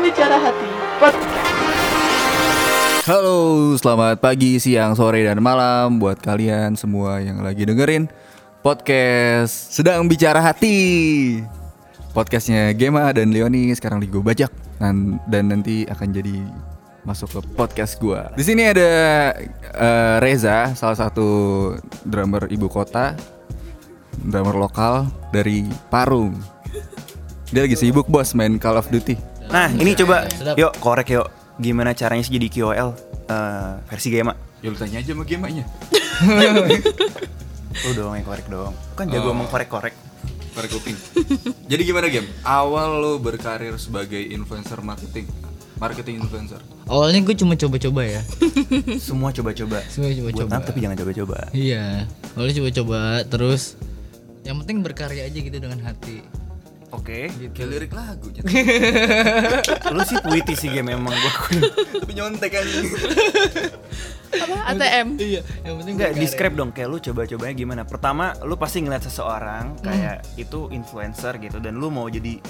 Bicara Hati Podcast. Halo, selamat pagi, siang, sore, dan malam buat kalian semua yang lagi dengerin podcast Sedang Bicara Hati. Podcastnya Gema dan Leoni sekarang lagi gue bajak dan, dan nanti akan jadi masuk ke podcast gue. Di sini ada eh, Reza, salah satu drummer ibu kota, drummer lokal dari Parung. Dia lagi sibuk bos main Call of Duty. Nah, ini coba yuk korek yuk. Gimana caranya sih jadi KOL eh, versi Gema? Ya lu tanya aja sama Gemanya. Lu dong yang korek dong. Kan jago Oh. mengkorek-korek. Para kuping. Jadi gimana game? Awal lo berkarir sebagai influencer marketing, marketing influencer. Awalnya gue cuma coba-coba ya. Semua coba-coba. Semua Buat coba-coba. anak tapi jangan coba-coba. Iya. Awalnya coba-coba terus yang penting berkarya aja gitu dengan hati. Oke. Kayak lirik lagu, Nyet. Gitu. Lu sih puitis sih game emang gua. tapi nyontek kan? aja. Apa? ATM. Iya, yang penting Enggak describe dong kayak lu coba-cobanya gimana. Pertama, lu pasti ngeliat seseorang kayak itu influencer gitu dan lu mau jadi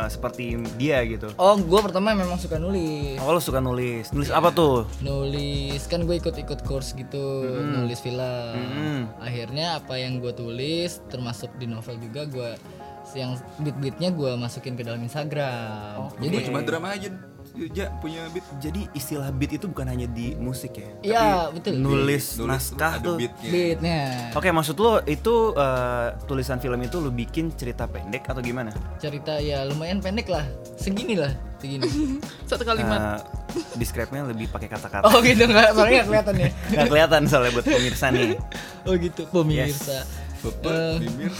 eh, seperti dia gitu. Oh, gue pertama memang suka nulis. Oh, lu suka nulis. Nulis apa tuh? Nulis kan gue ikut-ikut course gitu, nulis film. Mm-mm. Akhirnya apa yang gue tulis termasuk di novel juga gue yang beat-beatnya gue masukin ke dalam Instagram. Jadi Jadi cuma drama aja. Ja punya beat. Jadi istilah beat itu bukan hanya di musik ya. Iya, Tapi betul. Nulis, Nulis naskah ada tuh. beatnya. beatnya Oke, maksud lo itu eh, tulisan film itu lo bikin cerita pendek atau gimana? cerita ya lumayan pendek lah, segini lah, segini. Satu kalimat. Eh, describe-nya lebih pakai kata-kata. oh gitu nggak, soalnya nggak kelihatan ya. Nggak kelihatan soalnya buat pemirsa nih. Oh gitu, pemirsa. Bapak, bibir.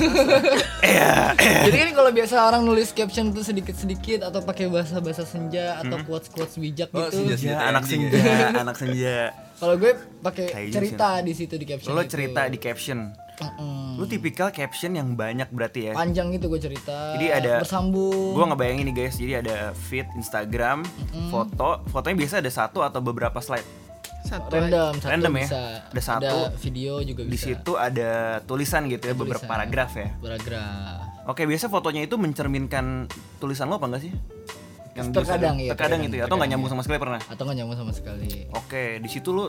Jadi kan kalau biasa orang nulis caption tuh sedikit-sedikit atau pakai bahasa-bahasa senja atau Hmm. quotes-quotes bijak Oh, gitu. senja. Ya, Senjata anak anjing senja, anak senja. Kalau gue pakai Kayaknya cerita di situ di caption. Lo itu. cerita di caption. Mm-mm. Lo tipikal caption yang banyak berarti ya. Panjang gitu gue cerita. Jadi ada bersambung. Gue ngebayangin nih guys, jadi ada feed Instagram, foto, fotonya biasa ada satu atau beberapa slide. Satu. random, satu Random ya? bisa. Ada satu. Ada video juga Di bisa. situ ada tulisan gitu ya, beberapa tulisan. paragraf ya. Paragraf. Oke, biasa fotonya itu mencerminkan tulisan lo apa enggak sih? di Terkadang, Instagram. iya, Terkadang terkadang, gitu ya, atau nggak terkadang, nyambung iya. sama sekali pernah. Atau nggak nyambung sama sekali. Oke, di situ lo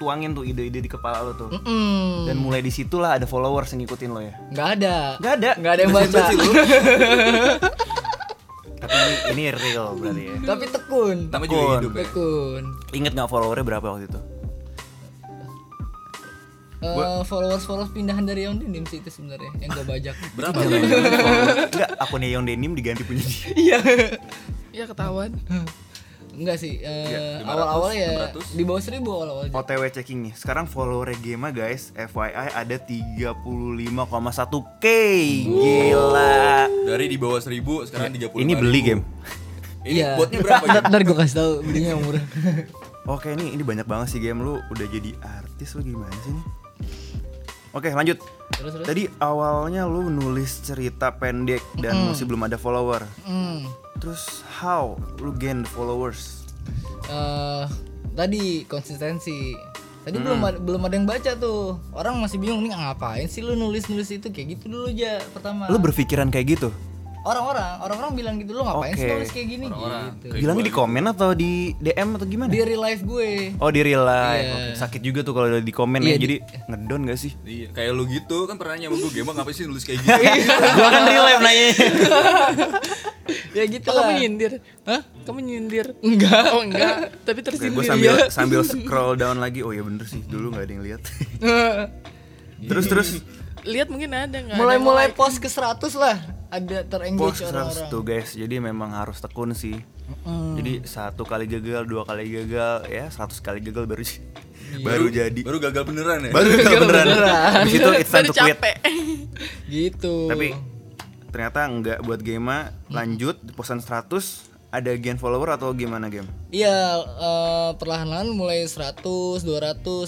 tuangin tuh ide-ide di kepala lo tuh. Mm-mm. Dan mulai di situlah ada followers yang ngikutin lo ya. Nggak ada. Nggak ada. Nggak ada yang baca. Tapi ini, ini real berarti ya. Tapi tekun. Pertama juga Tekun. hidup ya. Tekun. Ingat nggak followernya berapa waktu itu? Eh, followers followers pindahan dari yang denim sih itu sebenarnya yang gue bajak. Berapa? Enggak, akunnya yang denim diganti punya dia. Iya. Ya ketahuan. Enggak sih. Iya, eh, 500, awal-awal ya 600. di bawah seribu awal-awal. aja. OTW checking nih. Sekarang followernya Gema guys, FYI ada 35,1k. Gila. Dari di bawah 1000 sekarang 30. Ini beli game. Ini Iya. buatnya berapa? Ntar, Jam? ntar gue kasih tau belinya yang murah. Oke nih, ini banyak banget sih game lu udah jadi artis lu gimana sih nih? Oke, lanjut. Terus, terus. Tadi awalnya lu nulis cerita pendek dan masih belum ada follower. Hmm. Terus how lu gain the followers? Eh, tadi konsistensi. Tadi belum Hmm. ada, belum ada yang baca tuh. Orang masih bingung nih ngapain sih lu nulis-nulis itu kayak gitu dulu aja pertama. Lu berpikiran kayak gitu? orang-orang, orang-orang bilang gitu lu ngapain sih Oke. nulis kayak gini gitu. Kayak Bilangnya gua di komen atau di DM atau gimana? Di real life gue. Oh di real life. Iya. Oke, Sakit juga tuh kalau di komen ya. Iya, di- Jadi ngedon gak sih? Iya, kayak lu gitu kan pernah nyamuk gue game ngapain sih nulis kayak gitu? Gua kan real life nanya. ya gitu Oh, kamu lah. nyindir. Hah? Kamu nyindir. Enggak. Oh enggak, tapi Gue tersindir. sambil ya. sambil scroll down lagi. Oh ya bener sih. Dulu nggak ada yang lihat. terus terus. Lihat mungkin ada enggak? mulai-mulai post ke 100 lah ada terengage Post 100 orang-orang tuh guys. Jadi memang harus tekun sih. Jadi satu kali gagal, dua kali gagal, ya 100 kali gagal baru baru jadi. Baru gagal beneran ya? Baru gagal beneran. beneran. Habis itu it's time to quit. capek. gitu Tapi ternyata nggak buat Gema lanjut di posan 100 ada gain follower atau gimana game? iya eh, perlahan-lahan mulai 100 200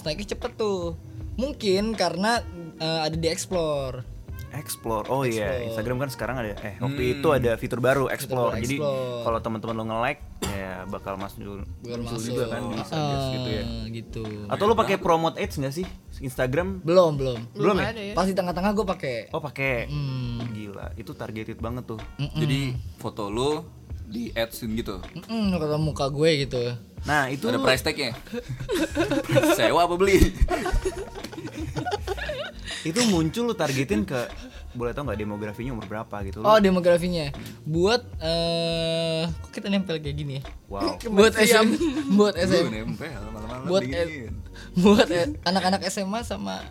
naiknya cepet tuh mungkin karena eh, ada di explore Explore. Oh iya, Instagram kan sekarang ada eh waktu itu ada fitur baru Explore. Jadi Explore. kalau teman-teman lo nge-like ya bakal masuk Baru muncul masuk. juga kan di suggest gitu ya. Eh, gitu Atau lo pakai promote ads nggak sih Instagram? belum belum Belum ya? ada ya. pas di tengah-tengah gue pakai Oh pakai. Hmm, Mm. Gila, itu targeted banget tuh. Jadi foto lu di adsin gitu Mm-mm, kata muka gue gitu Nah itu ada lu- price tagnya sewa apa beli itu muncul lu targetin ke boleh tau nggak demografinya umur berapa gitu oh lu- demografinya buat eh kok kita nempel kayak gini ya Wow. buat Siam. SM Iya. buat SM Lu nempel malam-malam buat dingin. buat eh, anak-anak SMA sama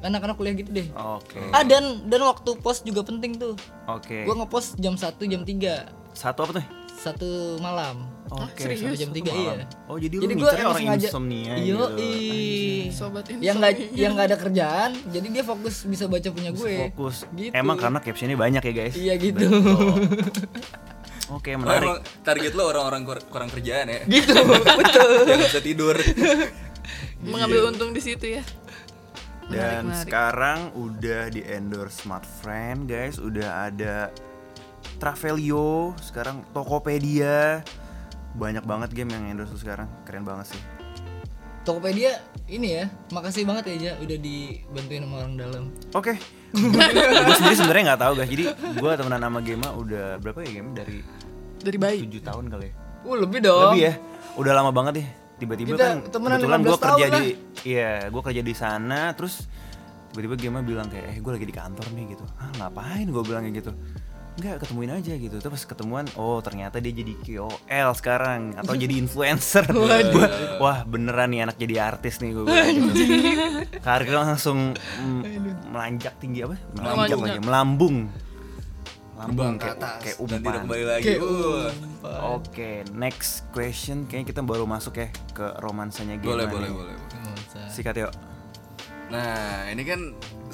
anak-anak kuliah gitu deh Oke. ah dan dan waktu post juga penting tuh Oke. gue ngepost jam 1 jam 3 Satu apa tuh? satu malam Oke. sampai jam 3 iya malam. Oh, jadi lu gue ngincernya orang insomnia iyo gitu. Sobat yang nggak yang nggak ada kerjaan jadi dia fokus bisa baca punya gue Fokus. Gitu. Emang karena captionnya banyak ya guys. iya gitu Oke Oh, emang menarik. target lo orang-orang kur- kurang kerjaan ya gitu betul yang bisa tidur mengambil untung di situ ya. Dan menarik. sekarang udah di endorse Smart Friend guys, udah ada Travelio, sekarang Tokopedia. Banyak banget game yang endorse lu sekarang. Keren banget sih. Tokopedia ini ya makasih banget ya Ja udah dibantuin sama orang dalam Oke. gue sendiri sebenarnya nggak tahu guys. Jadi gue temenan sama Gema udah berapa ya Gema dari Dari bayi. 7 tahun kali ya. uh lebih dong Lebih ya. Udah lama banget ya. Tiba-tiba Kita kan temenan kebetulan gue 15 kerja tahun di iya, gue kerja di sana terus tiba-tiba Gema bilang kayak eh gue lagi di kantor nih gitu. Ah, ngapain gue bilangnya gitu. Enggak, ketemuin aja gitu. Terus pas ketemuan, oh ternyata dia jadi KOL sekarang atau jadi influencer. Gua, wah, beneran nih anak jadi artis nih gue. Karir langsung mm, melanjak tinggi apa? Melanjak lagi, melambung. Terbang Melambung ke kayak, atas kayak dan tidak umpan. kembali lagi Kayak Uh, Oke, next question. Kayaknya kita baru masuk ya ke romansanya Gema. boleh nih. boleh boleh boleh. Oh, Sikat yuk. nah ini kan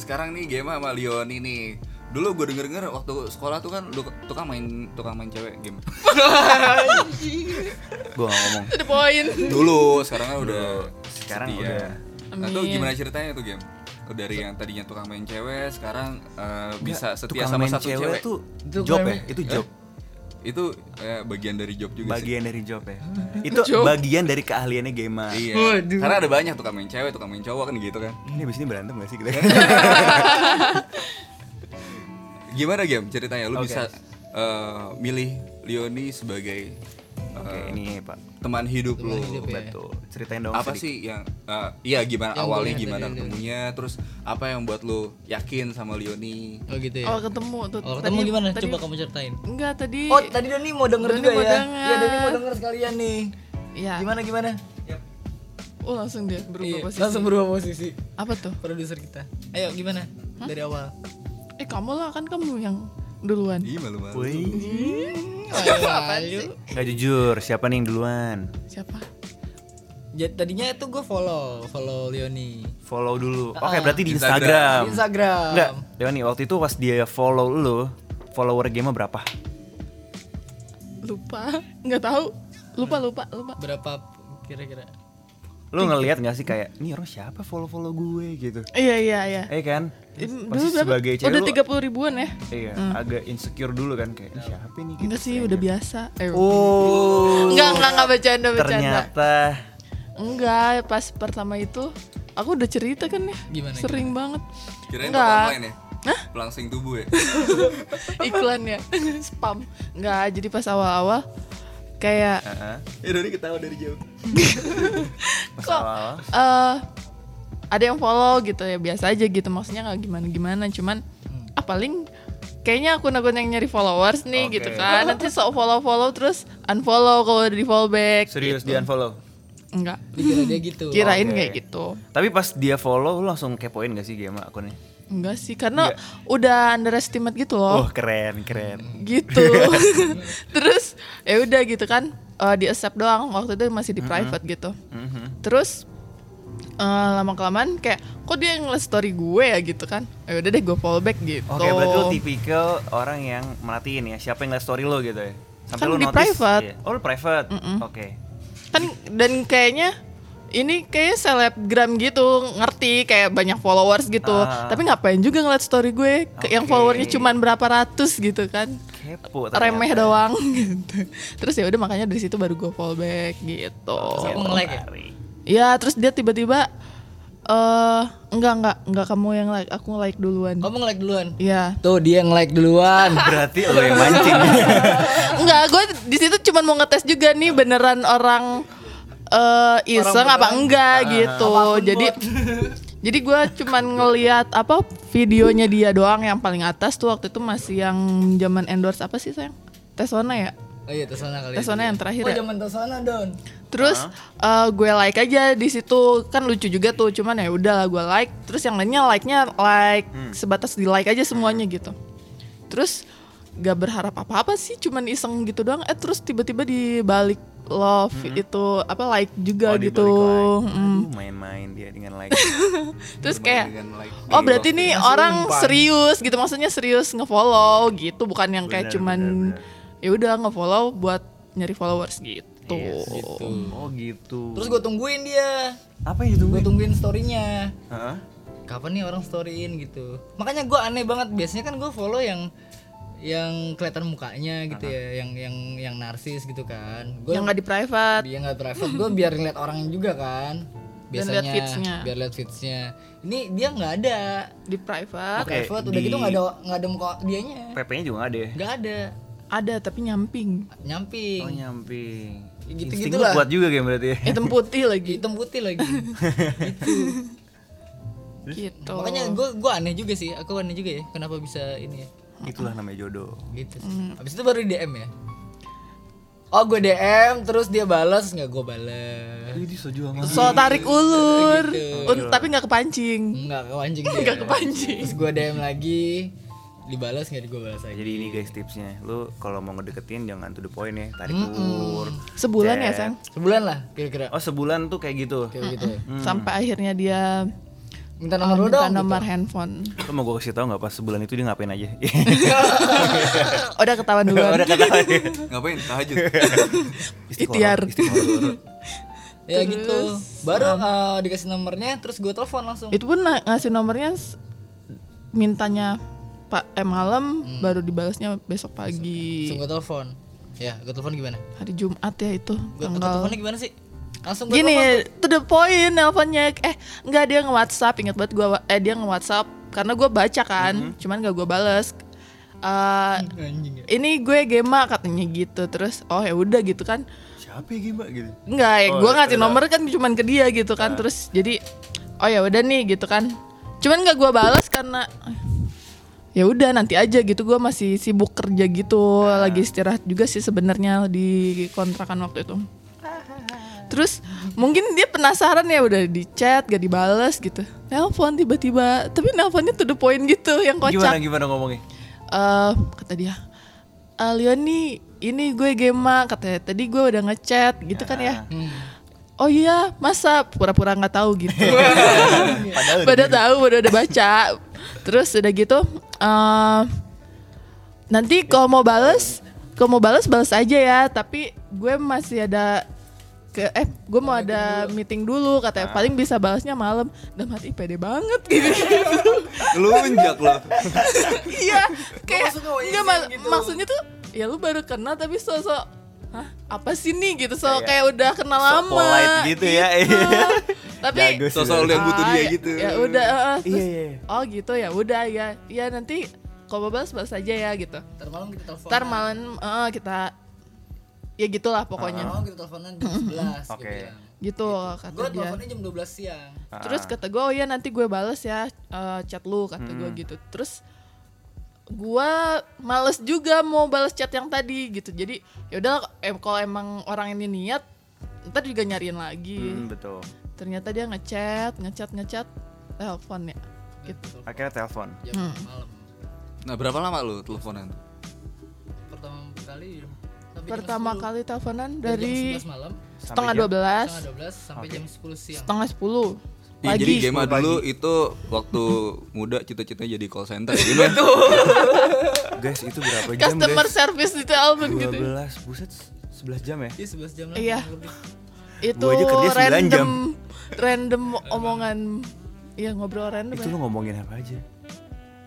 sekarang nih game sama Leon ini dulu gue denger denger waktu sekolah tuh kan lu tukang main tukang main cewek game Gue gak ngomong. Ada poin. dulu sekarang kan udah Sekarang setia. udah. nah tuh Amin. gimana ceritanya tuh game dari yang tadinya tukang main cewek sekarang eh, bisa setia Tukang sama main satu cewek, cewek, tuh Itu job keren. ya? Itu job. itu eh, bagian dari job juga sih Bagian dari job ya. Itu Job. bagian dari keahliannya Gema. Iya. Waduh. Karena ada banyak tukang main cewek, tukang main cowok kan gitu kan. Ini abis ini berantem gak sih kita? Gimana game ceritanya? Lu Oke. bisa eh, milih Leoni sebagai eh, Oke, ini Pak. teman hidup lu. hidup ya. Betul. Ceritain dong Apa sedikit. sih yang eh, iya gimana Yang awalnya gue lihat gimana dari ketemunya, terus apa yang buat lu yakin sama Leoni? oh gitu ya Oh ketemu tuh. oh, ketemu Tadi- gimana tadi- coba kamu ceritain Enggak tadi. Oh tadi Doni mau denger Nah. Doni juga mau ya? denger. Iya Doni mau denger sekalian nih. Iya. Gimana gimana? Oh langsung dia berubah Iya, posisi. Langsung berubah posisi. Apa tuh? Produser kita. Ayo gimana? Dari awal. Eh kamu lah kan kamu yang duluan. Ih, malu-malu. Wih, Apaan sih? Gak jujur, siapa nih yang duluan? Siapa? Ja- tadinya itu gue follow, follow Leoni Follow dulu. Oke, berarti di di Instagram. Instagram. Enggak, Leoni waktu itu pas dia follow lu, follower Gema berapa? Lupa. Enggak tahu. Lupa lupa lupa. Berapa kira-kira? Lu ngelihat gak sih kayak, ini orang siapa follow-follow gue gitu? Iya iya iya. Eh kan? Ini Pasti berapa? sebagai cewek Udah lu- tiga puluh ribuan ya? Iya, agak insecure dulu kan kayak "Ini siapa nih gitu. Enggak sih udah biasa. Eh, Oh. Enggak enggak enggak bercanda bercanda. Ternyata Enggak, pas pertama itu aku udah cerita kan ya. Gimana, Sering banget. Kirain Enggak. tukang online ya? Pelangsing tubuh ya? Iklannya ya. spam. Enggak, jadi pas awal-awal kayak Heeh. Eh, Doni ketawa dari jauh. Pas kok awal-awal. eh ada yang follow gitu ya biasa aja gitu maksudnya nggak gimana gimana cuman Hmm. ah paling kayaknya akun-akun yang nyari followers nih Oke. gitu kan nanti sok follow follow terus unfollow kalau udah di follow back serius di unfollow. enggak Dikira dia gitu. kirain Oke. kayak gitu Tapi pas dia follow lu langsung kepoin gak sih Gema akunnya? enggak sih karena udah underestimate gitu loh Oh, keren, keren. gitu Iya. terus ya udah gitu kan eh, di accept doang waktu itu masih di private gitu Hmm. Mhm. terus lama kelamaan kayak kok dia ngeliat story gue ya gitu kan ya udah deh gue follow back gitu Oke, berarti lu tipikal orang yang merhatiin ya siapa yang lihat story lu gitu ya. Sampai Kan lu di notice. private. iya. Oh, lu private. Oke. kan dan kayaknya ini kayak selebgram gitu ngerti kayak banyak followers gitu Ah. tapi ngapain juga ngeliat story gue ke- yang Oke. followernya cuman berapa ratus gitu kan Kepo ternyata. remeh doang gitu terus ya udah makanya dari situ baru gue follow back gitu Terus aku nge-like ya? Ya terus dia tiba-tiba eh enggak enggak enggak kamu yang like, aku like duluan. Kamu nge-like duluan. Iya. Tuh dia nge-like duluan. Berarti lo yang mancing. Enggak, gue di situ cuma mau ngetes juga nih beneran orang eh iseng apa enggak gitu. Jadi jadi gue cuman ngeliat apa videonya dia doang yang paling atas tuh waktu itu masih yang zaman endorse apa sih sayang? Tesona ya. Oh iya Tesona kali. ya. Tesona yang terakhir Oh ya. zaman Tesona Don. Terus eh, gue like aja di situ kan lucu juga tuh cuman ya udahlah gue like terus yang lainnya like-nya like Hmm. sebatas di like aja semuanya gitu. Terus gak berharap apa-apa sih cuman iseng gitu doang eh terus tiba-tiba dibalik love itu apa like juga Hmm. Oh, dibalik gitu. Mm. like. Aduh, Main-main dia dengan like. Terus kayak like. oh berarti nih Langsung orang umpan. serius gitu maksudnya serius nge-follow gitu bukan yang kayak Benar, cuman benar, ya udah nge-follow buat nyari followers gitu. Yes, gitu. Oh gitu. Terus gue tungguin dia. apa yang Gue ditungguin? tungguin storynya. Heeh. Kapan nih orang storyin gitu. Makanya gue aneh banget. Biasanya kan gue follow yang yang kelihatan mukanya gitu ya, yang yang yang narsis gitu kan. Gua, Yang nggak di private. dia nggak private gue biar ngeliat orangnya juga kan Biar biasanya liat feeds-nya. biar liat feedsnya ini dia nggak ada di private Oke, private udah di- gitu nggak ada nggak ada muka dianya PP-nya juga nggak ada ya? nggak ada ada tapi nyamping Oh nyamping nyamping. Ya, gitu-gitu Insting lu lah. kuat juga kayak berarti ya. hitam putih lagi hitam putih lagi gitu makanya gue gue aneh juga sih aku aneh juga ya kenapa bisa ini ya Itulah namanya jodoh. gitu sih. Hmm. abis itu baru di DM ya oh gue DM terus dia balas nggak gue balas Jadi soju sama. so gitu. tarik ulur Un- tapi nggak kepancing nggak ke anjing dia. nggak kepancing terus gue DM lagi dibalas nggak di gue balas lagi Ya, Jadi ini guys tipsnya, lu kalau mau ngedeketin jangan to the point ya, tarik ulur. sebulan ya Chat. sang sebulan lah kira-kira Oh sebulan tuh kayak gitu. kayak gitu ya. sampai akhirnya dia minta uh, nomor lu minta dong gitu. nomor handphone Lu mau gue kasih tau nggak pas sebulan itu dia ngapain aja? udah ketahuan duluan Ngapain? Tahajud. ikhtiar ya gitu baru eh, dikasih nomornya terus gue telepon langsung itu pun na- ngasih nomornya s- mintanya pak eh malam Hmm. baru dibalasnya besok pagi langsung gue telepon ya gue telepon gimana hari Jumat ya itu gue tanggal teleponnya gimana sih langsung gue Gini, to the point nelponnya Eh, enggak dia nge-whatsapp Ingat banget gue Eh, dia nge-whatsapp Karena gue baca kan Cuman gak gue bales Eh, telepon. anjing ya Ini gue gema katanya gitu Terus, oh ya udah gitu kan Siapa ya Gimba gitu? Enggak, ya, Oh, Nah. gue ngasih terus nomor kan cuman ke dia gitu kan Terus jadi, oh ya udah nih gitu kan Cuman gak gue bales karena ya udah nanti aja gitu gue masih sibuk kerja gitu Nah. lagi istirahat juga sih sebenarnya di kontrakan waktu itu terus mungkin dia penasaran ya udah di chat gak dibales gitu nelpon tiba-tiba tapi nelponnya to the point gitu yang Gimana kocak gimana ngomongnya? Eh, kata dia "Eh, Leon nih ini gue gema katanya tadi gue udah ngechat gitu kan ya oh iya masa pura-pura nggak tahu gitu Padahal tahu udah gitu. udah baca terus udah gitu eh, nanti kalau mau bales kalau mau bales bales aja ya tapi gue masih ada ke eh gue mau ada meeting dulu Ah. katanya paling bisa balasnya malam dan hati "Ih, pede banget gitu Lunjak lo. iya kayak nggak mal- maksudnya tuh ya lu baru kenal tapi sosok Hah, apa sih nih gitu so kayak udah kenal lama Iya. polite gitu ya. tapi Jago sih. Sosok lu yang butuh ah, dia ya- gitu. ya udah eh, eh, terus, Iya, iya. oh gitu ya udah ya ya nanti kalau balas balas aja ya gitu ntar malam kita telepon ntar malam eh, kita ya gitulah pokoknya malam kita teleponan jam 11 Oke. gitu kata gue dia teleponnya jam 12 siang Terus Ah. kata gue, oh iya nanti gue bales ya eh, chat lu, kata gue Hmm. gitu. Terus gue males juga mau bales chat yang tadi gitu. Jadi yaudah em kalau emang orang ini niat, ntar juga nyariin lagi. Hmm, betul. Ternyata dia ngechat, ngechat, ngechat, telepon ya. Gitu. Akhirnya telepon. jam Hmm. malam Nah, berapa lama lu teleponan? pertama kali tapi jam Pertama 10. kali teleponan Dari dari jam 11 malam setengah Sampai jam- dua belas, setengah 12 sampai jam 10 siang setengah sepuluh Iya, Ya, jadi pagi. Gema dulu itu waktu muda cita-citanya jadi call center gitu ya. gimana? Guys, itu berapa jam, Customer guys? service di telepon gitu. 12, buset 11 jam ya? Iya 11 jam lah Iya. kurang lebih. itu Gua aja kerja 9 random jam. random omongan ya ngobrol random Itu ya. lu ngomongin apa aja?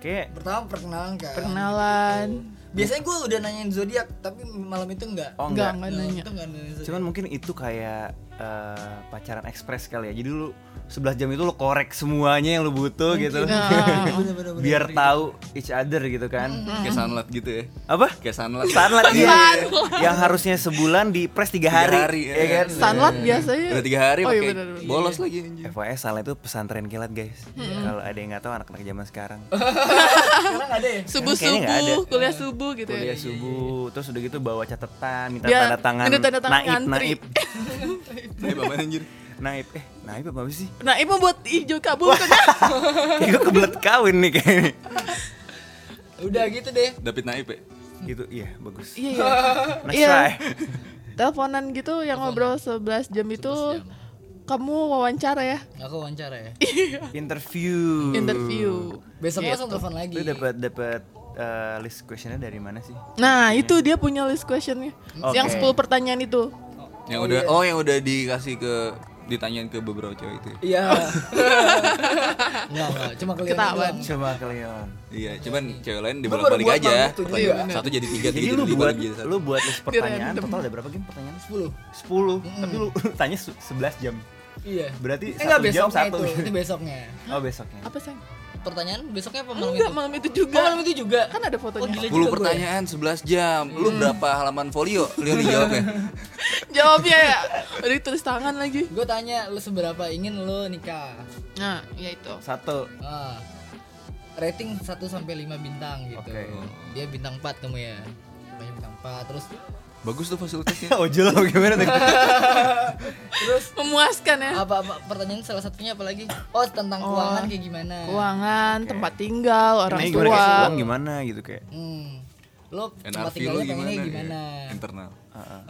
Kayak Pertama perkenalan kan perkenalan Biasanya gue udah nanyain zodiak tapi malam itu enggak. oh enggak enggak enggak. Malam nanya itu enggak nanyain zodiak. Cuman mungkin itu kayak eh, pacaran ekspres kali ya. Jadi lu 11 jam itu lu korek semuanya yang lu butuh gitu. Biar tahu each other gitu kan. Kayak sunlight gitu ya. Apa? Kayak sunlight. Sunlight iya. Yang harusnya sebulan di press 3 Tiga hari. hari, ya iya. kan? Sunlight biasanya. Udah tiga hari Oh iya pakai benar. benar. bolos lagi anjir. FYI Sunlight itu pesantren kilat guys. Kalau ada yang nggak tahu anak-anak zaman sekarang. Sekarang ada ya? Subuh Kayaknya nggak ada. subuh, kuliah subuh gitu ya. Kuliah subuh, terus udah gitu bawa catatan, minta Ya, tanda tangan. minta tanda tangan naib, ngantri. naib, Tapi bapak Iya, anjir. naib. Eh, naib apa sih? Nah, ibu buat hijau kabur kan? Kayak gue kebelet kawin nih kayaknya. Udah gitu deh. Dapat naib ya. Gitu, iya bagus. Iya, iya. Nice Iya. try. Teleponan gitu yang ngobrol 11 jam itu kamu wawancara ya? Aku wawancara ya. Interview. Interview. Besok langsung Gitu. telepon lagi. Lu dapat dapat eh, list questionnya dari mana sih? Nah, itu dia punya list questionnya. Oke. Yang 10 pertanyaan itu. Yang udah oh yang udah dikasih ke ditanyain ke beberapa cewek itu. ya? Iya. Enggak, enggak. Cuma kelihatan Ketahuan. doang. Coba kalian. Iya, cuman cewek lain Lu dibolak baru balik buat aja. banget tuh Pertanyaan juga. Satu jadi tiga, Jadi tiga lu jadi buat dibalik jadi satu. lu buat list pertanyaan random. Hmm. total ada berapa game pertanyaan? 10. 10. Tapi lu tanya se- 11 jam. Iya. Berarti Eh, enggak satu jam besoknya satu. itu. Itu besoknya. Oh, besoknya. Apa sih? Pertanyaan besoknya apa malam Enggak, itu? malam itu Oh, malam juga. itu juga. Kan ada Oh, fotonya. 10 gila juga gue. pertanyaan 11 jam. Lu berapa halaman folio? ya. Lu yang jawabnya. Jawabnya ya. Udah ditulis tangan lagi. Gue tanya lu seberapa ingin lu nikah? Nah, ya itu. Satu. Ah, rating 1 sampai 5 bintang gitu. Oke. Dia bintang 4 kamu ya. Banyak bintang 4 terus Bagus tuh fasilitasnya. Ojol apa gimana tuh? terus Memuaskan ya. apa, apa- pertanyaan salah satunya apa lagi? Oh, tentang keuangan kayak gimana? Keuangan, Oke. tempat tinggal, orang Nanya gimana tua. guys? Uang gimana gitu kayak. Hmm. Lo tempat NRV tinggalnya lu pengennya gimana? gimana? Iya, Internal.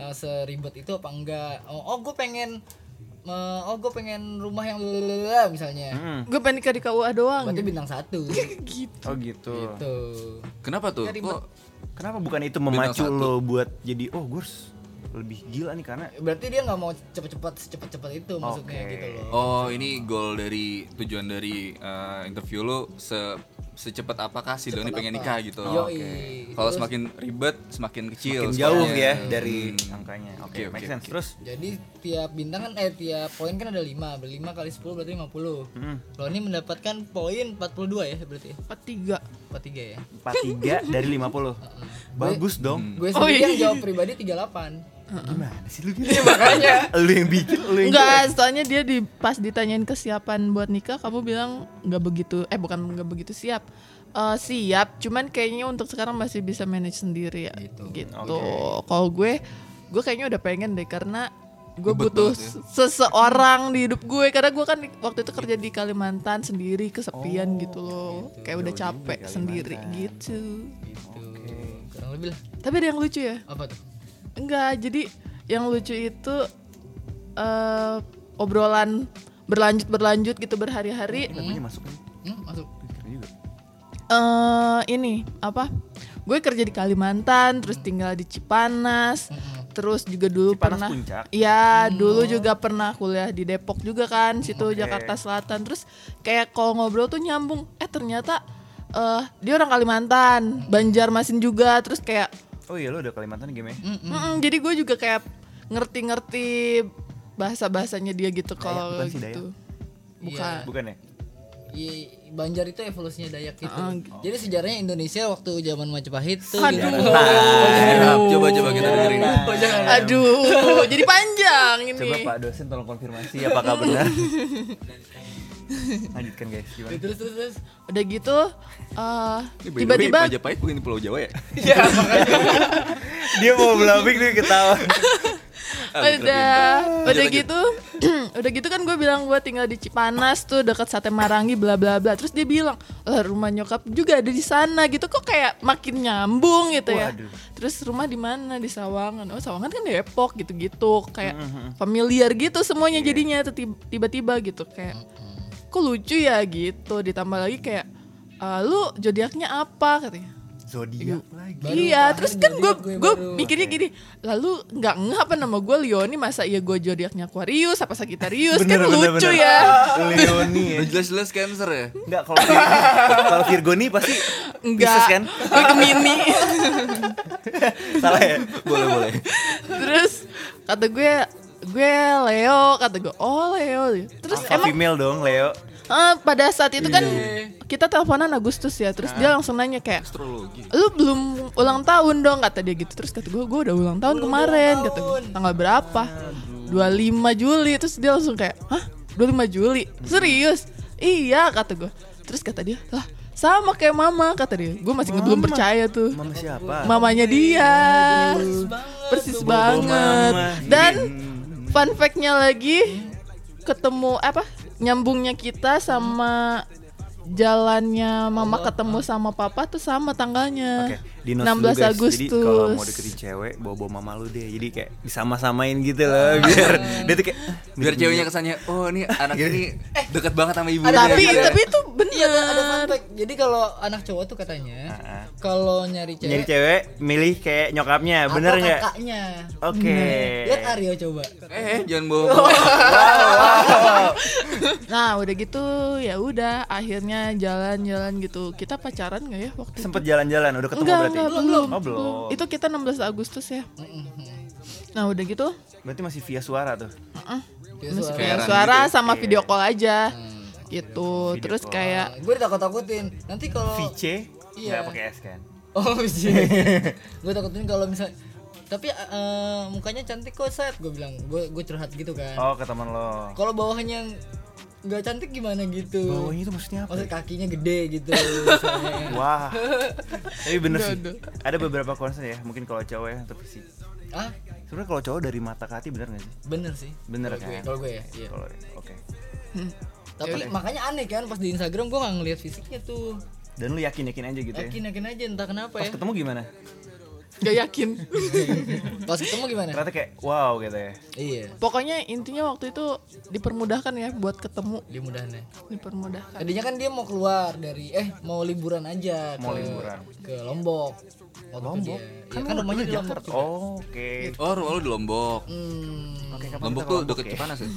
Eh, seribet itu apa enggak? Oh, oh gue pengen eh, oh gue pengen rumah yang lalalala, misalnya. Hmm. Gue pengen nikah di KUA doang. Berarti bintang satu. Gitu. Oh gitu. Tuh. Kenapa tuh? Kok Kenapa bukan itu memacu satu. lo buat jadi oh gue harus lebih gila nih karena Berarti dia nggak mau cepet-cepet secepat-cepat itu maksudnya Oke. gitu loh. Oh ini goal dari tujuan dari eh, interview lo se secepat apakah sih Doni pengen nikah gitu? Yoi. Oke. Kalau semakin ribet semakin kecil. makin jauh skornya. ya dari angkanya. Iya, Hmm. Oke, Oke, oke, make oke. sense. Terus Jadi tiap bintang kan eh tiap poin kan ada 5. 5 kali 10 berarti 50. hmm, Lo ini mendapatkan poin 42 ya berarti. Tempat tiga. 43 ya. 43 dari 50. Bagus Hmm. dong. Gue Oh, sendiri iya. yang jawab pribadi 38. Gimana sih lu gitu? makanya lu yang bikin lu yang Enggak, soalnya dia di pas ditanyain kesiapan buat nikah, kamu bilang nggak begitu, eh bukan nggak begitu siap, Eh, siap. Cuman kayaknya untuk sekarang masih bisa manage sendiri ya. Gitu. Kalau gue, gue kayaknya udah pengen deh karena gue Ribet butuh banget seseorang di hidup gue karena gue kan di- waktu itu kerja di Kalimantan sendiri kesepian gitu loh, kayak udah capek sendiri gitu. Gitu. Kurang lebih lah. Tapi ada yang lucu ya. Apa tuh? Enggak, jadi yang lucu itu eh obrolan berlanjut berlanjut gitu berhari-hari. namanya masuk nih. Hmm, masuk. Keren juga. Eh ini apa? Gue kerja di Kalimantan, terus tinggal di Cipanas. Terus juga dulu Cipanas pernah Puncak? Hmm. Iya, dulu juga pernah kuliah di Depok juga kan, situ Jakarta Selatan. Terus kayak kalau ngobrol tuh nyambung. Eh ternyata eh dia orang Kalimantan, Banjarmasin juga, terus kayak Oh iya lu udah Kalimantan game ya? Mm-mm, jadi gue juga kayak ngerti-ngerti bahasa bahasanya dia gitu kalau bukan sih, Dayak. gitu. Bukan. Bukan ya? Iya, Banjar itu evolusinya Dayak gitu. Ah, Jadi sejarahnya Indonesia waktu zaman Majapahit tuh Aduh. Harap, coba-coba kita dengerin. Iya, Aduh, jadi panjang ini. Iya. Coba Pak dosen tolong konfirmasi apakah benar. Lanjutkan guys, gimana? Terus terus terus. Udah gitu eh, Ini by the way, tiba-tiba Majapahit bukan di Pulau Jawa ya? Dia mau bluffing nih ketawa. udah udah Ah, lanjut. gitu udah gitu kan gue bilang gue tinggal di Cipanas tuh dekat Sate Marangi bla bla bla terus dia bilang lah rumah nyokap juga ada di sana gitu kok kayak makin nyambung gitu ya Waduh. terus rumah di mana di Sawangan oh Sawangan kan Depok gitu gitu kayak Mm-hmm, familiar gitu semuanya Iya. jadinya tuh tib- tiba-tiba gitu kayak kok lucu ya gitu ditambah lagi kayak "Ah, lu zodiaknya apa katanya Zodiak lagi. Baru iya, terakhir terus kan zodiak gue gue gue baru. mikirnya gini, lalu nggak nggak apa nama gue Leoni masa iya gue zodiaknya Aquarius apa Sagittarius kan lucu ya. Leoni ya. Jelas-jelas cancer ya? Enggak kalau Virgo- kalau Virgo nih pasti Pisces Enggak, kan? gue Gemini. Salah ya? Boleh boleh. terus kata gue gue Leo kata gue oh Leo terus emang Alpha female dong Leo eh, pada saat itu kan Iya. kita teleponan Agustus ya terus dia Nah. langsung nanya kayak Astrologi. lu belum ulang tahun dong kata dia gitu terus kata gue gue udah ulang tahun kemarin kata gue tanggal berapa 25 Juli terus dia langsung kayak hah 25 Juli serius iya kata gue terus kata dia lah sama kayak mama kata dia gue masih nggak belum percaya tuh Mama siapa? mamanya dia persis Iya. banget mama. dan fun fact-nya lagi ketemu apa nyambungnya kita sama jalannya mama ketemu sama papa tuh sama tanggalnya ah. Oke, di 16 notes dulu, guys. Agustus Jadi kalau mau deketin cewek, bawa-bawa mama lu deh. Jadi kayak disama-samain gitu loh, biar Hmm. dia tuh kayak "Ah, Biar mirip-mirip." ceweknya kesannya, oh ini anak ini deket banget sama Gitu ya. ibu. tapi Ada- tapi itu bener Iya ada fun fact. Jadi kalau anak cowok tuh katanya Ah. kalau nyari cewek, nyari cewek milih kayak nyokapnya, apa bener nggak? kakaknya. Oke. Iya. Lihat Aryo coba. Eh, jangan bohong. nah udah gitu ya udah akhirnya jalan-jalan gitu kita pacaran nggak ya waktu Sempet jalan-jalan, udah ketemu Enggak, berarti. enggak, belum. Oh, belum. itu kita 16 Agustus ya Hmm, nah udah gitu Berarti masih via suara tuh. Dia Masih Ya, suara. Hmm. kayak Kayak suara gitu sama video call aja gitu ya. Video terus call. kayak Ah, Gue ditakut-takutin. Nanti Oh. kalau Vice Iya. nggak pakai S kan? Oh sih. gue takutin kalau misalnya tapi eh, mukanya cantik kok set gue bilang gue gue curhat gitu kan Oh, ke teman lo. kalau bawahnya yang nggak cantik gimana gitu Bawahnya itu maksudnya apa? maksud kakinya gede gitu misalnya. Wah. Tapi bener sih. Nggak Ada beberapa concern ya, mungkin kalau cowok ya untuk fisik. ah Sebenarnya kalau cowok dari mata ke hati bener nggak sih? bener sih Bener Kalau gue- kan? kalau gue ya iya Kalau oke. tapi makanya aneh kan pas di Instagram gue nggak ngeliat fisiknya tuh Dan lu yakin-yakin aja gitu ya. yakin yakin aja entah kenapa Pas ya ketemu gimana? gak yakin pas ketemu gimana Ternyata kayak wow gitu ya. iya Pokoknya intinya waktu itu dipermudahkan ya buat ketemu, dia mudahnya dipermudahkan. tadinya kan dia mau keluar dari eh mau liburan aja Mau ke, liburan. ke Lombok waktu Lombok. dia. Iya, Kan, kan lu- rumahnya lu di Lombok Jakarta. juga. Oh, oke. Oh, rumah lu di Lombok. Hmm, Oke, kapan Lombok kita tuh ke deket ya? Cipanas ya?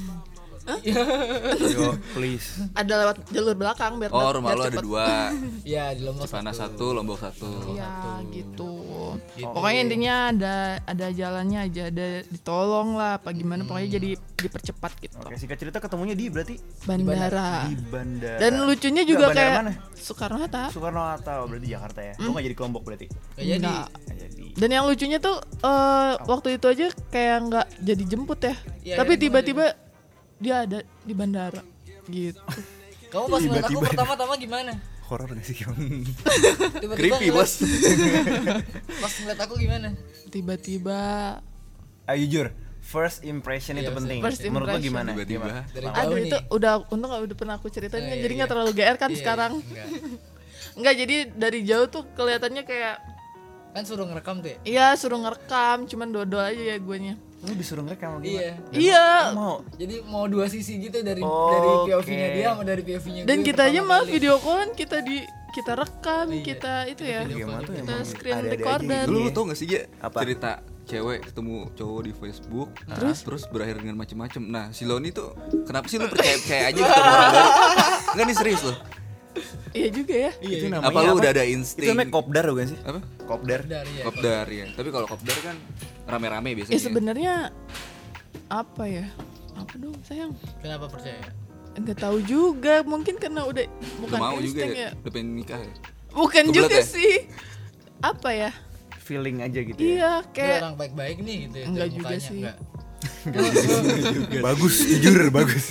Yo, please. Ada lewat jalur belakang biar Oh, rumah lu ada cepet. dua. ya di Lombok Cipanas satu, Lombok satu. Iya, gitu. Pokoknya intinya ada ada jalannya aja, ada ditolong lah apa gimana pokoknya jadi dipercepat gitu. Oke, singkat cerita ketemunya di berarti Bandara. di bandara. Ah. Dan lucunya juga Nggak, bandara kayak mana? Soekarno Hatta. Soekarno Hatta oh, berarti Jakarta ya. Lu nggak jadi kelompok berarti. Nggak Ya, jadi. Nggak. Nggak jadi. Dan yang lucunya tuh eh, waktu itu aja kayak nggak jadi jemput ya. Iya, Tapi iya, tiba-tiba dia ada di bandara gitu. kamu pas ngeliat aku pertama-tama gimana Horor nggak sih? tiba-tiba Creepy, ngeliat- Bos. pas ngeliat aku gimana Tiba-tiba Ayo jujur, first impression itu penting. Iya, First Menurut lu impression. gimana? Tiba-tiba. Gimana? dari jauh Aduh nih itu udah untung gak udah pernah aku ceritain Oh, kan iya, jadi nggak iya. terlalu GR kan Iya, sekarang. iya, enggak. Enggak jadi dari jauh tuh kelihatannya kayak kan suruh ngerekam tuh ya iya suruh ngerekam cuman dodo aja ya guenya. Lu disuruh ngerekam sama gimana? iya Iya. Lu Mau. jadi mau dua sisi gitu dari Oke. dari POV-nya dia sama dari POV-nya Oh, Dan gue kita aja pertama mah kali. Iya, video callan kita di kita rekam, kita itu ya. Gimana tuh Kita Iya, emang screen ada-ada aja gitu. recorder. Dulu lu tau gak sih Gia? Apa? cerita cewek ketemu cowok di Facebook terus terus berakhir dengan macem-macem nah si Loni tuh kenapa sih lu percaya percaya aja ketemu orang baru enggak nih serius loh Iya juga ya. Itu namanya apa lu udah ada insting Itu namanya kopdar bukan sih? apa Kopdar. dari ya kopdar ya tapi kalau kopdar kan rame-rame Iya. biasanya iya. Ya sebenarnya apa ya? Apa dong sayang? kenapa percaya Enggak tahu juga, mungkin karena udah udah bukan mau juga insting ya. ya udah pengen nikah ya Bukan Kebelet juga ya? sih. Apa ya? Feeling aja gitu ya. Iya, Dia kayak orang baik-baik nih gitu ya dari Enggak juga mukanya, sih. enggak. bagus, jujur bagus.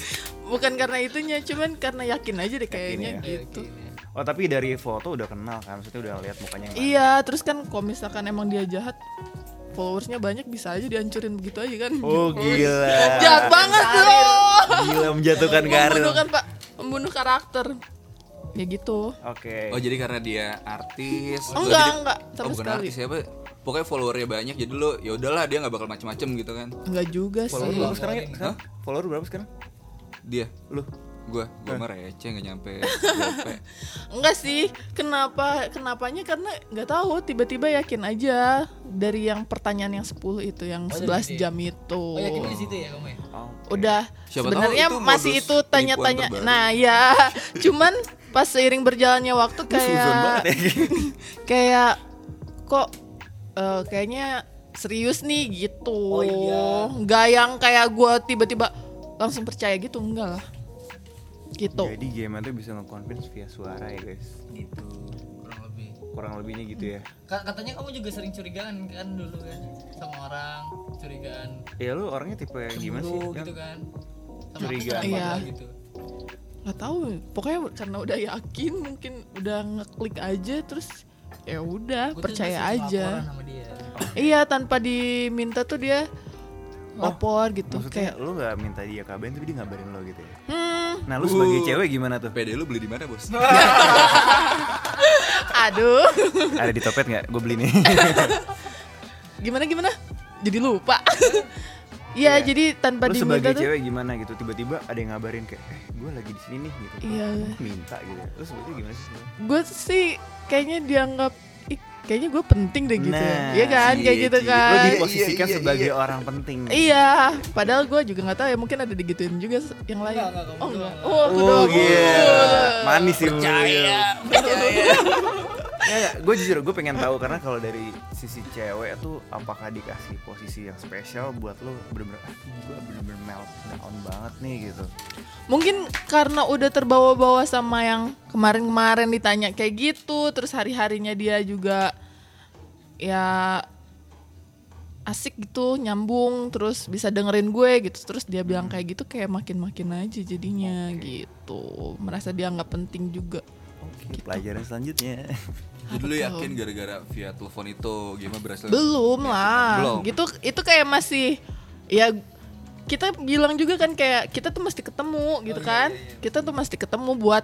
bukan karena itunya cuman karena yakin aja deh kayaknya ya. Yakin gitu Oh, tapi dari foto udah kenal kan? Maksudnya udah lihat mukanya yang iya terus kan kalau misalkan emang dia jahat followersnya banyak bisa aja dihancurin begitu aja kan Oh gitu. gila. jahat banget loh Gila menjatuhkan karir. membunuh kan pak membunuh karakter ya gitu Oke. oh jadi karena dia artis Enggak, Lo jadi- enggak, oh, sama bukan sekali. artis siapa pokoknya followernya banyak jadi lu ya udahlah dia nggak bakal macem-macem gitu kan enggak juga Follower sih berapa sekarang ya? Sekarang? Follower berapa sekarang? dia Lu. gua gua Eh. mah receh nggak nyampe 2P. enggak sih kenapa kenapanya karena nggak tahu tiba-tiba yakin aja dari yang pertanyaan yang 10 itu yang 11 jam itu Oh yakin di situ ya kamu ya? Oh. udah Siapa sebenarnya tahu itu masih modus itu tanya-tanya penipuan terbaru. nah ya cuman pas seiring berjalannya waktu ya. Suzon banget kayak ya. kayak kok eh, kayaknya serius nih gitu. Oh, iya. Nggak yang kayak gue tiba-tiba langsung percaya gitu enggak lah. Gitu. Jadi game itu bisa nge-convince via suara ya guys. gitu kurang lebih Kurang lebihnya gitu ya. Hmm. Ka- katanya kamu juga sering curigaan kan dulu kan sama orang curigaan Ya lu orangnya tipe yang gimana sih? dulu Yang- gitu kan sama Curigaan. aku sama Iya. dia gitu nggak tahu pokoknya karena udah yakin mungkin udah ngeklik aja terus ya udah Gua tuh percaya disuruh laporan aja sama dia iya tanpa diminta tuh dia lapor gitu Maksudnya kayak lu gak minta dia kabarin tapi dia ngabarin lo gitu ya. hmm Nah, Uh. lu sebagai cewek gimana tuh? PD lu beli di mana, Bos? Nah, aduh Ada di topet nggak? Gue beli nih. gimana gimana jadi lupa Iya, Iya. jadi tanpa lu diminta sebagai tuh cewek gimana gitu? Tiba-tiba ada yang ngabarin kayak, eh, gue lagi di sini nih gitu. Iya. Minta gitu. Lu sebenarnya gimana sih? sebenarnya? gue sih kayaknya dianggap "Ih, kayaknya gue penting deh gitu Nah, ya kan kayak iya, gitu Ci. Lu kan Lu Iya, iya, diposisikan iya, sebagai iya. orang penting. Iya, padahal gue juga nggak tahu ya mungkin ada digituin juga se- yang lain. Enggak, enggak, kamu oh doang, enggak. enggak. Oh, aku Iya. doang. Oh Iya, gila, manis sih Percaya Gue Iya, jujur, gue pengen tahu karena kalau dari sisi cewek tuh apakah dikasih posisi yang spesial buat lo bener-bener gue bener-bener meltdown banget nih gitu. Mungkin karena udah terbawa-bawa sama yang kemarin-kemarin ditanya kayak gitu, terus hari-harinya dia juga ya asik gitu, nyambung, terus bisa dengerin gue gitu. Terus dia bilang kayak gitu kayak makin-makin aja jadinya gitu. Merasa dia nggak penting juga. Oke, pelajaran selanjutnya. Jadi lu yakin gara-gara via telepon itu game berhasil? belum lah Iya, Belum. gitu itu kayak masih ya kita bilang juga kan kayak kita tuh mesti Oh, ketemu iya, gitu kan kita tuh mesti ketemu buat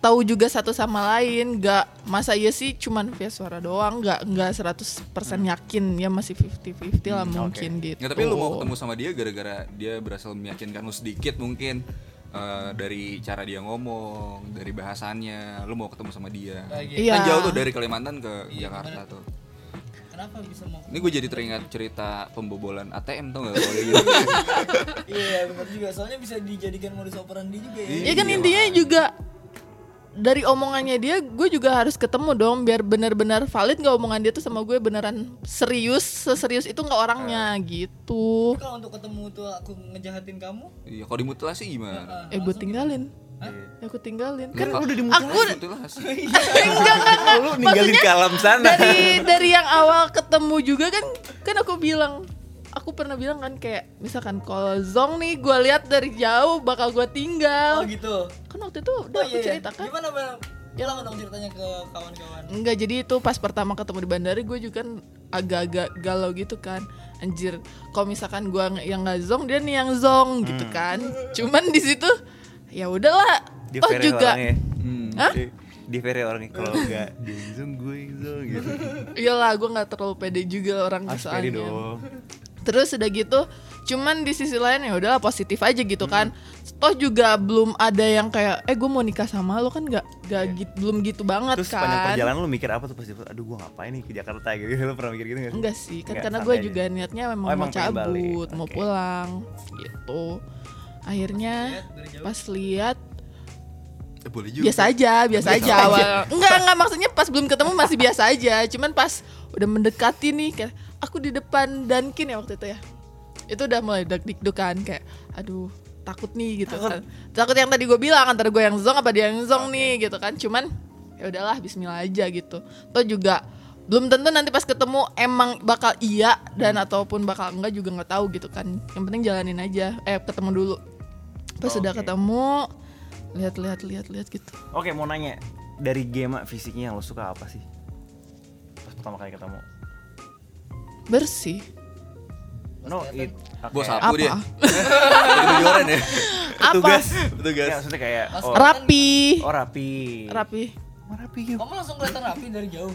tahu juga satu sama lain nggak masa iya sih cuman via suara doang nggak nggak 100% yakin ya masih 50-50 lah mungkin gitu Hmm. Nggak, tapi lu mau ketemu sama dia gara-gara dia berhasil meyakinkan lu sedikit mungkin eh, dari cara dia ngomong, dari bahasannya, lu mau ketemu sama dia. Lagi. Iya. Kan jauh tuh dari Kalimantan ke Jakarta tuh. kenapa bisa mau Ini gue jadi teringat cerita pembobolan ATM tau gak? Kalau gitu. iya benar juga soalnya bisa dijadikan modus operandi juga ya ya kan intinya juga dari omongannya dia gue juga harus ketemu dong biar benar-benar valid nggak omongan dia tuh sama gue beneran serius seserius itu nggak orangnya Eh. gitu Tapi kalau untuk ketemu tuh aku ngejahatin kamu Iya, kalau dimutilasi gimana? Eh gue tinggalin. Iya. Ya, aku tinggalin. Kan Kalau- udah dimutilasi. Aku mutilasi. enggak enggak enggak. Oh, Lu ninggalin ke alam sana. Dari dari yang awal ketemu juga kan kan aku bilang aku pernah bilang kan kayak misalkan kalau Zong nih gue lihat dari jauh bakal gue oh tinggal. gitu Kan waktu itu udah oh aku iya ceritakan. Hmm. gimana bang ulang dong ceritanya ke kawan-kawan Enggak jadi itu pas pertama ketemu di bandara gue juga kan agak-agak galau gitu kan anjir kalau misalkan gue yang nggak zong dia nih yang zong gitu Hmm. kan cuman di situ ya udahlah Dia oh Ferry juga orangnya. Hmm. Hah? Dia- Dia Ferry orangnya kalau nggak dia yang zoom gue yang zoom gitu. Iyalah, gue nggak terlalu pede juga orang Mas Ferry soalnya. Ah, dong. Terus udah gitu, cuman di sisi lain ya udahlah positif aja gitu kan. Toh juga belum ada yang kayak, eh gue mau nikah sama lo kan nggak nggak gitu- belum gitu banget Iya. Terus sepanjang kan. perjalanan lu mikir apa tuh pasti aduh gue ngapain nih ke Jakarta gitu. Lu pernah mikir gitu nggak sih? Enggak sih, kan Nggak, karena santai gue aja. juga niatnya memang Oh, emang mau pengen balik. cabut, mau Oke. pulang gitu. Akhirnya pas lihat Eh, boleh juga. biasa aja, biasa aja awal. Enggak, enggak maksudnya pas belum ketemu masih biasa aja, cuman pas udah mendekati nih kayak aku di depan Dunkin ya waktu itu ya. Itu udah mulai deg kan kayak aduh takut nih gitu kan. Takut yang tadi gue bilang antara gue yang zong apa dia yang zong nih gitu kan. Cuman ya udahlah bismillah aja gitu. Toh juga belum tentu nanti pas ketemu emang bakal iya dan Hmm. ataupun bakal enggak juga nggak tahu gitu kan. Yang penting jalanin aja. Eh ketemu dulu. Pas udah Oke. ketemu lihat-lihat lihat-lihat gitu. Oke mau nanya dari game fisiknya yang lo suka apa sih? Pas pertama kali ketemu. bersih No it. oke. Bos Itu sapu Apa? dia. Jadi joran ya. apa Petugas. Ya, maksudnya kayak Pas oh, rapi oh, rapi. rapi Oh, rapi gitu. kamu langsung kelihatan rapi dari jauh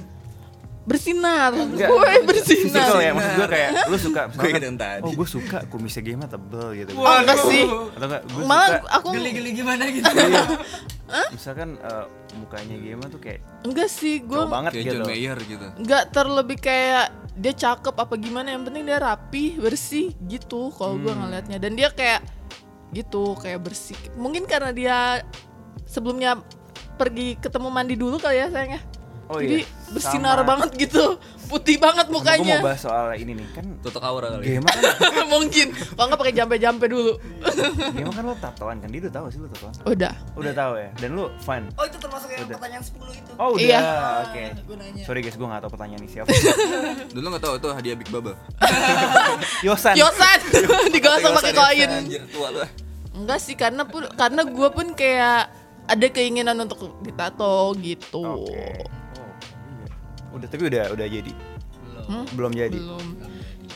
bersinar Enggak. gue Maksud bersinar gue kayak, maksud gue kayak lu suka misalkan, ingat yang tadi. Oh, gue suka kumisnya game tebel gitu. Oh, enggak sih Atau enggak ah, gue suka malah aku geli-geli gimana gitu misalkan eh, mukanya game tuh kayak enggak sih gue cowok banget Kayak gitu. John Mayer gitu. enggak terlebih kayak dia cakep apa gimana yang penting dia rapi bersih gitu kalau gue Hmm. ngelihatnya dan dia kayak gitu kayak bersih mungkin karena dia sebelumnya pergi ketemu mandi dulu kali ya sayangnya Oh Jadi iya, bersinar sama. banget gitu, putih banget Gue mau mukanya. bahas soal ini nih kan Tutup aura kali. Gema kan, Mungkin. Kalau nggak pakai jampe-jampe dulu. Gema kan lo tatoan kan, dia udah tahu sih lo tatoan Udah. Udah tahu ya, dan lo fun Oh itu termasuk yang Udah. pertanyaan 10 itu. Oh udah, Iya. oke Gua nanya. Sorry guys, gue gak tau pertanyaan ini siapa Dulu nggak tahu itu hadiah Big Bubble. Yosan Yosan digosok pakai koin. ya, Anjir tua Oh, lu. Enggak sih karena pun karena gue pun kayak ada keinginan untuk ditato gitu. Oke Oh, iya. Udah, tapi udah udah jadi Hmm? Belum jadi Belum.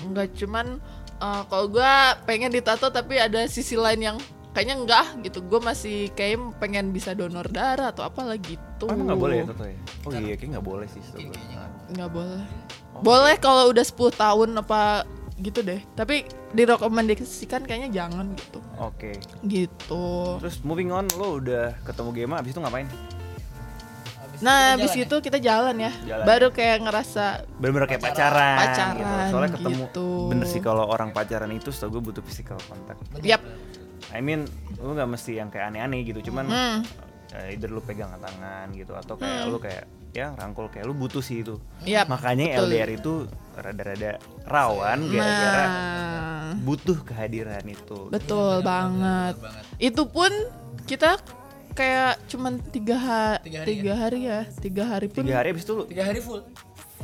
Enggak cuman eh, kalau gue pengen ditato tapi ada sisi lain yang kayaknya enggak gitu. Gue masih kayak pengen bisa donor darah atau apalah gitu. Oh, emang gak boleh ya Toto ya? Oh iya, kayaknya gak boleh sih setahu gue. Nggak boleh. Oh. Boleh kalau udah 10 tahun apa gitu deh. Tapi direkomendasikan kayaknya jangan gitu. Oke Gitu. Terus moving on, lo udah ketemu Gema, abis itu ngapain? Nah, habis itu kita jalan ya. Jalan. Baru kayak ngerasa Bener-bener kayak pacaran, Pacaran, gitu. Soalnya ketemu, gitu. bener sih kalau orang pacaran itu setahu gue butuh physical contact yap. I mean, lo gak mesti yang kayak aneh-aneh gitu, cuman Hmm. eh, either lu pegang tangan gitu atau kayak lu kayak ya rangkul kayak lu butuh sih itu. Yap, Iya, Makanya betul. Iya. LDR itu rada-rada rawan gara-gara Nah, butuh kehadiran itu. betul banget. Itu pun kita kayak cuman tiga, ha- Tiga tiga, hari, hari ya, tiga hari pun Tiga hari abis itu lu Tiga hari full.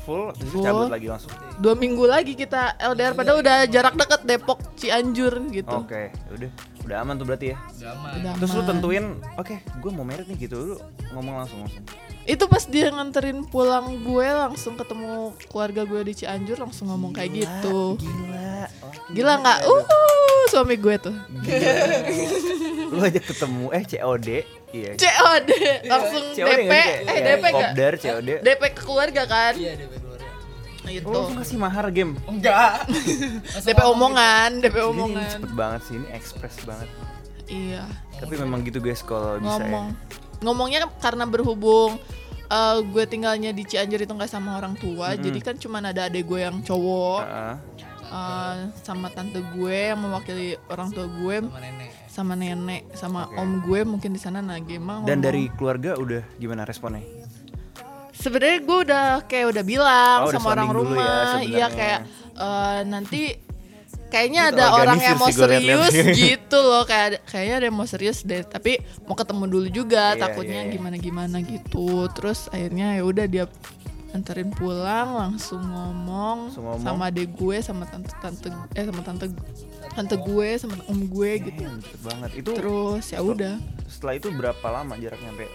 full, abis itu Full. cabut lagi langsung. dua minggu lagi kita LDR padahal udah jarak dekat Depok Cianjur gitu. Oke, udah udah aman tuh berarti ya. Drama. Udah Terus lu aman. tentuin, oke, gue mau merit nih gitu, lu ngomong langsung langsung. Itu pas dia nganterin pulang gue langsung ketemu keluarga gue di Cianjur langsung ngomong kayak gitu. Gila, oh, Gila nggak? Uh, suami gue tuh. Iya. lu aja ketemu eh COD, iya. COD langsung COD DP, nggak sih Iya, kayak- eh kayak DP gak? kopdar, COD. DP ke keluarga kan? Iya DP keluarga. Gitu. Oh, Lu kasih mahar game. Enggak. DP omongan, DP Ini- Ini omongan. cepet banget sih, ini ekspres banget. Iya, Tapi memang gitu guys kalau bisa ya. ngomong. Ngomongnya kan karena berhubung eh, gue tinggalnya di Cianjur itu nggak sama orang tua, jadi kan cuman ada adek gue yang cowok Heeh. Ah. eh, sama tante gue yang mewakili orang tua gue Sama nenek. sama nenek sama Oke. om gue mungkin di sana nah Gema ngomong. Dan dari keluarga udah gimana responnya? sebenarnya gue udah kayak udah bilang Oh, udah sama orang sounding dulu ya rumah sebenarnya. iya kayak eh, nanti kayaknya Gitu, ada orang organisir yang mau sih gua liat-liat. serius gitu loh kayak ada- kayaknya ada yang mau serius deh tapi mau ketemu dulu juga Iya, takutnya iya, iya. gimana gimana gitu terus akhirnya ya udah dia anterin pulang langsung ngomong, Langsung ngomong. sama adek gue sama tante tante eh sama tante tante gue sama om gue gitu Damn, cepet banget. Itu terus ya udah setelah itu berapa lama jaraknya sampai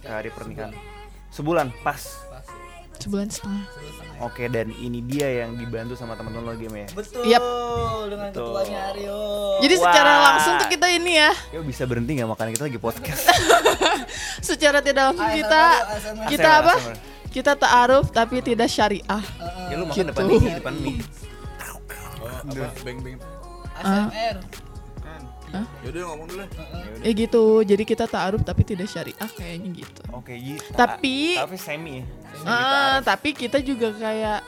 ke hari pernikahan? Sebulan pas. sebulan setengah Oke, dan ini dia yang dibantu sama teman-teman lo game ya. gitu? Betul. Yap. Dengan Betul. ketuanya Aryo. jadi Wah. secara langsung tuh kita ini ya Yo bisa berhenti nggak makan kita lagi podcast. secara tidak langsung ASMR, kita ASMR. kita ASMR. apa? Kita ta'aruf tapi tidak Oh, syariah. ya lu makan Gitu. depan ini, depan mie. Beng beng. Ah. ASMR. Yaudah ngomong dulu. Ya gitu. Jadi kita ta'aruf tapi tidak syariah kayaknya gitu. Oke, gitu. Tapi- tapi semi ya. Nah, Semi Ah, kita- tapi kita juga kayak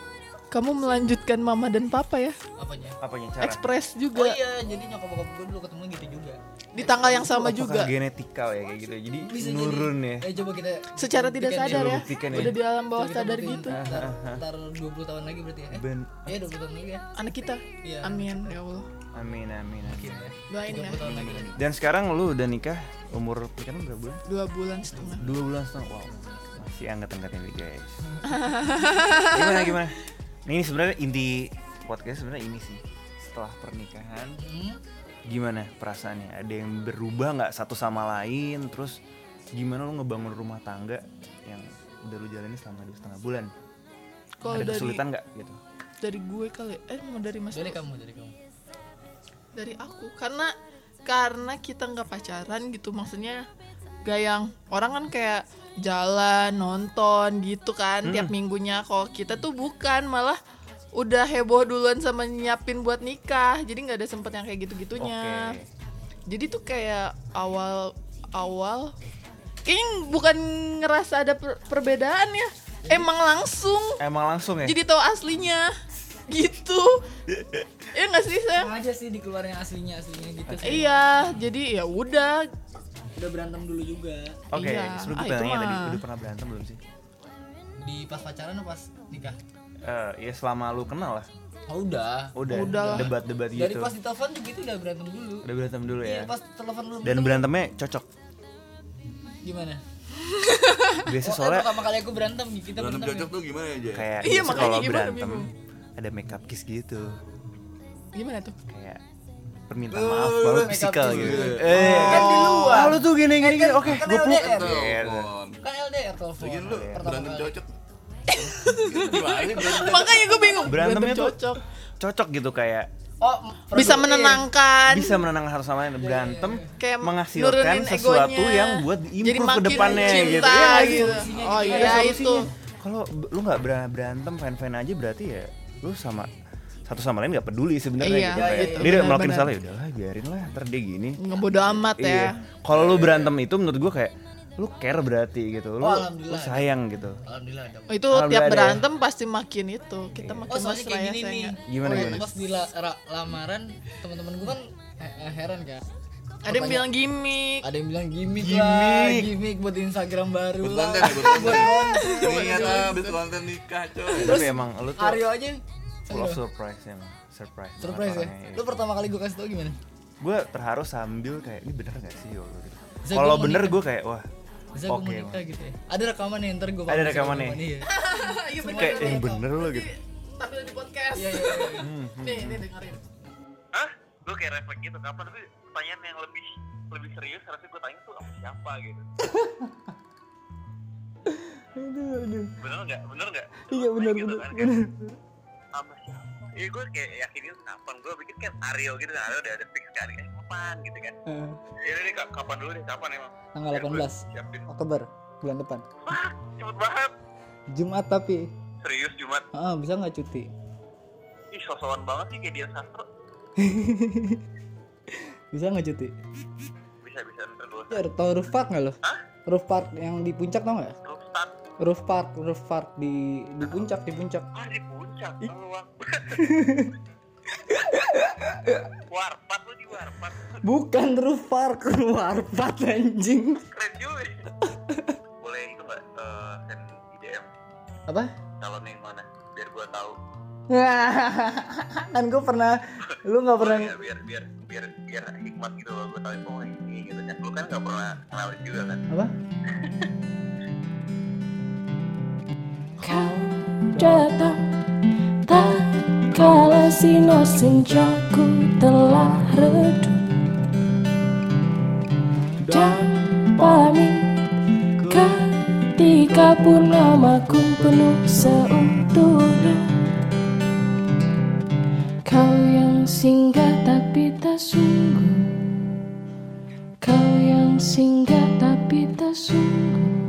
kamu melanjutkan mama dan papa ya. Apanya? apanya cara? Ekspres Oh juga iya, jadi nyokap bokap gue dulu ketemu gitu juga. di tanggal yang sama juga. Apakah genetikal ya kayak gitu. Jadi Bisa jadi. nurun ya. Eh coba kita Secara tidak buktikan sadar ya. ya. buktikan ya. Udah di alam bawah Coba kita sadar buktiin. gitu. Ah. Ntar, ntar 20 tahun lagi berarti ya. Eh, Ben, Iya 20 tahun lagi ya. Anak kita. Iya. Amin ya Allah. amin amin amin. Gitu ya. Doain ya. 20 tahun lagi. Dan sekarang lu udah nikah umur pernikahan berapa bulan? Dua bulan setengah. Dua bulan setengah. Wow. Masih anget-angetnya nih guys. gimana gimana? Nah, ini sebenarnya inti podcast sebenarnya ini sih. Setelah pernikahan Iya. Hmm. gimana perasaannya? Ada yang berubah nggak satu sama lain? Terus gimana lu ngebangun rumah tangga yang udah lu jalani selama dua setengah bulan? Kalau Ada dari kesulitan nggak gitu? dari gue kali. Eh mau dari Mas Dari dulu? kamu, dari kamu. dari aku karena karena kita nggak pacaran gitu maksudnya gak yang orang kan kayak jalan nonton gitu kan tiap minggunya kalau kita tuh bukan malah udah heboh duluan sama nyiapin buat nikah jadi nggak ada sempet yang kayak gitu gitunya Oke. jadi tuh kayak awal awal kayaknya bukan ngerasa ada per- perbedaan ya emang langsung Emang langsung ya? jadi tahu aslinya gitu ya nggak sih saya Emang aja sih dikeluarin yang aslinya aslinya gitu. sih. Iya, jadi ya udah. Udah berantem dulu juga. Oke, Iya, sebelum ah, kita itu nanya tadi, mah. udah pernah berantem belum sih? di pas pacaran atau pas nikah? Eh, ya selama lu kenal lah. Oh udah. Udah, Udah lah. debat-debat gitu. Dari pas ditelepon juga itu udah berantem dulu. Udah berantem dulu Iya, ya. pas telepon dulu. Dan berantemnya cocok. gimana? Biasa Iya, Oh, eh, soalnya pertama kali aku berantem kita Berantem berantem. cocok tuh gimana aja? kayak Iya, biasa makanya kalau gimana, berantem bingung. ada makeup kiss gitu. Gimana tuh? Kayak permintaan Eh, maaf baru makeup physical kiss. gitu. Eh, kan di luar. Lu tuh Eh, gini gini gini. Oke, kan gue peluk. LDR. Iya, Telepon. Kan LDR telepon. Lagian lu Pertama berantem kali. cocok. Gimana sih berantem cocok? Makanya gue bingung. Berantemnya tuh cocok. cocok gitu kayak Oh, Bisa produktif. menenangkan. bisa menenangkan satu sama lain berantem Iya, Kayak menghasilkan nurunin sesuatu egonya. yang buat Jadi improve ke makin depannya cinta, gitu ya nggak sih? gitu. Oh Ada iya itu. solusinya. Kalau b- lu nggak ber- berantem fan-fan aja berarti ya lu sama satu sama lain nggak peduli sebenarnya Iya, gitu. Kayak, gitu, Dia udah melakukan benar-benar. salah ya udahlah biarin lah ntar dia gini. Ngebodo amat Iya. ya. Kalau lu berantem itu menurut gua kayak lu care berarti gitu. Lu, lu Oh, alhamdulillah. sayang gitu. Alhamdulillah ada. Itu Alhamdulillah tiap ada ya. berantem pasti makin itu. Kita makin Oh, soalnya mesra ya kayak gini nih. sayang. Gimana, Oh, gimana? Pas di la- ra- lamaran teman-teman gue kan he- eh, heran kan. Ada yang bilang gimmick. Ada yang bilang gimmick, lah, gimmick buat Instagram baru Buat lah. konten, ya? buat konten. konten. Ingat abis konten nikah coy. Tapi emang lu tuh Aryo aja full of surprise emang. Surprise. banget surprise ya. orangnya, iya. Lu pertama kali gue kasih tau gimana? gue terharu sambil kayak ini bener gak sih ya Allah?" gitu. Zak, kalau gua mau bener nikah. gue kayak wah Bisa oke gue mau nikah Bang. gitu ya. Ada rekaman nih ntar gue Ada rekamannya? ya. kayak yang bener lo gitu Tampil di podcast. Iya, Nih, nih dengerin. Hah? Gue kayak refleks gitu kapan sih pertanyaan yang lebih lebih serius harusnya gue tanya tuh sama siapa gitu. Bener nggak? Bener nggak? Iya bener bener. Sama siapa? Iya gue kayak yakin itu kapan gue bikin kan Aryo gitu kan Aryo udah ada fix kan eh, kapan gitu kan? Iya deh Kak, kapan dulu deh kapan emang? Tanggal Biar gua 18. Siapin. Oktober bulan depan. Wah cepet banget. Jumat tapi. Serius Jumat. Ah, bisa nggak cuti? Ih sosokan banget sih kayak dia sastro. Bisa nggak cuti? Bisa bisa ntar dulu. Ya, tau roof park nggak lo? Roof park yang di puncak tau nggak? Terus start. Roof park, roof park di di puncak, di puncak. Ah di puncak lu Wak. Warpat lu di warpat Bukan roof park, warpat anjing. Keren juga Boleh itu gak eh send IDM Apa? calonnya yang mana Biar gua tahu kan gue pernah, lu nggak pernah. ya, biar, biar, biar, biar hikmat gitu loh Gua tahu pokoknya ini gitu kan Lu kan gak pernah kenalin juga kan Apa? Kau datang tak kala sino senjaku telah redup Dan pamit ketika purnamaku penuh seutuhnya Kau yang singgah tapi tak sungguh Kau yang singgah tapi tak sungguh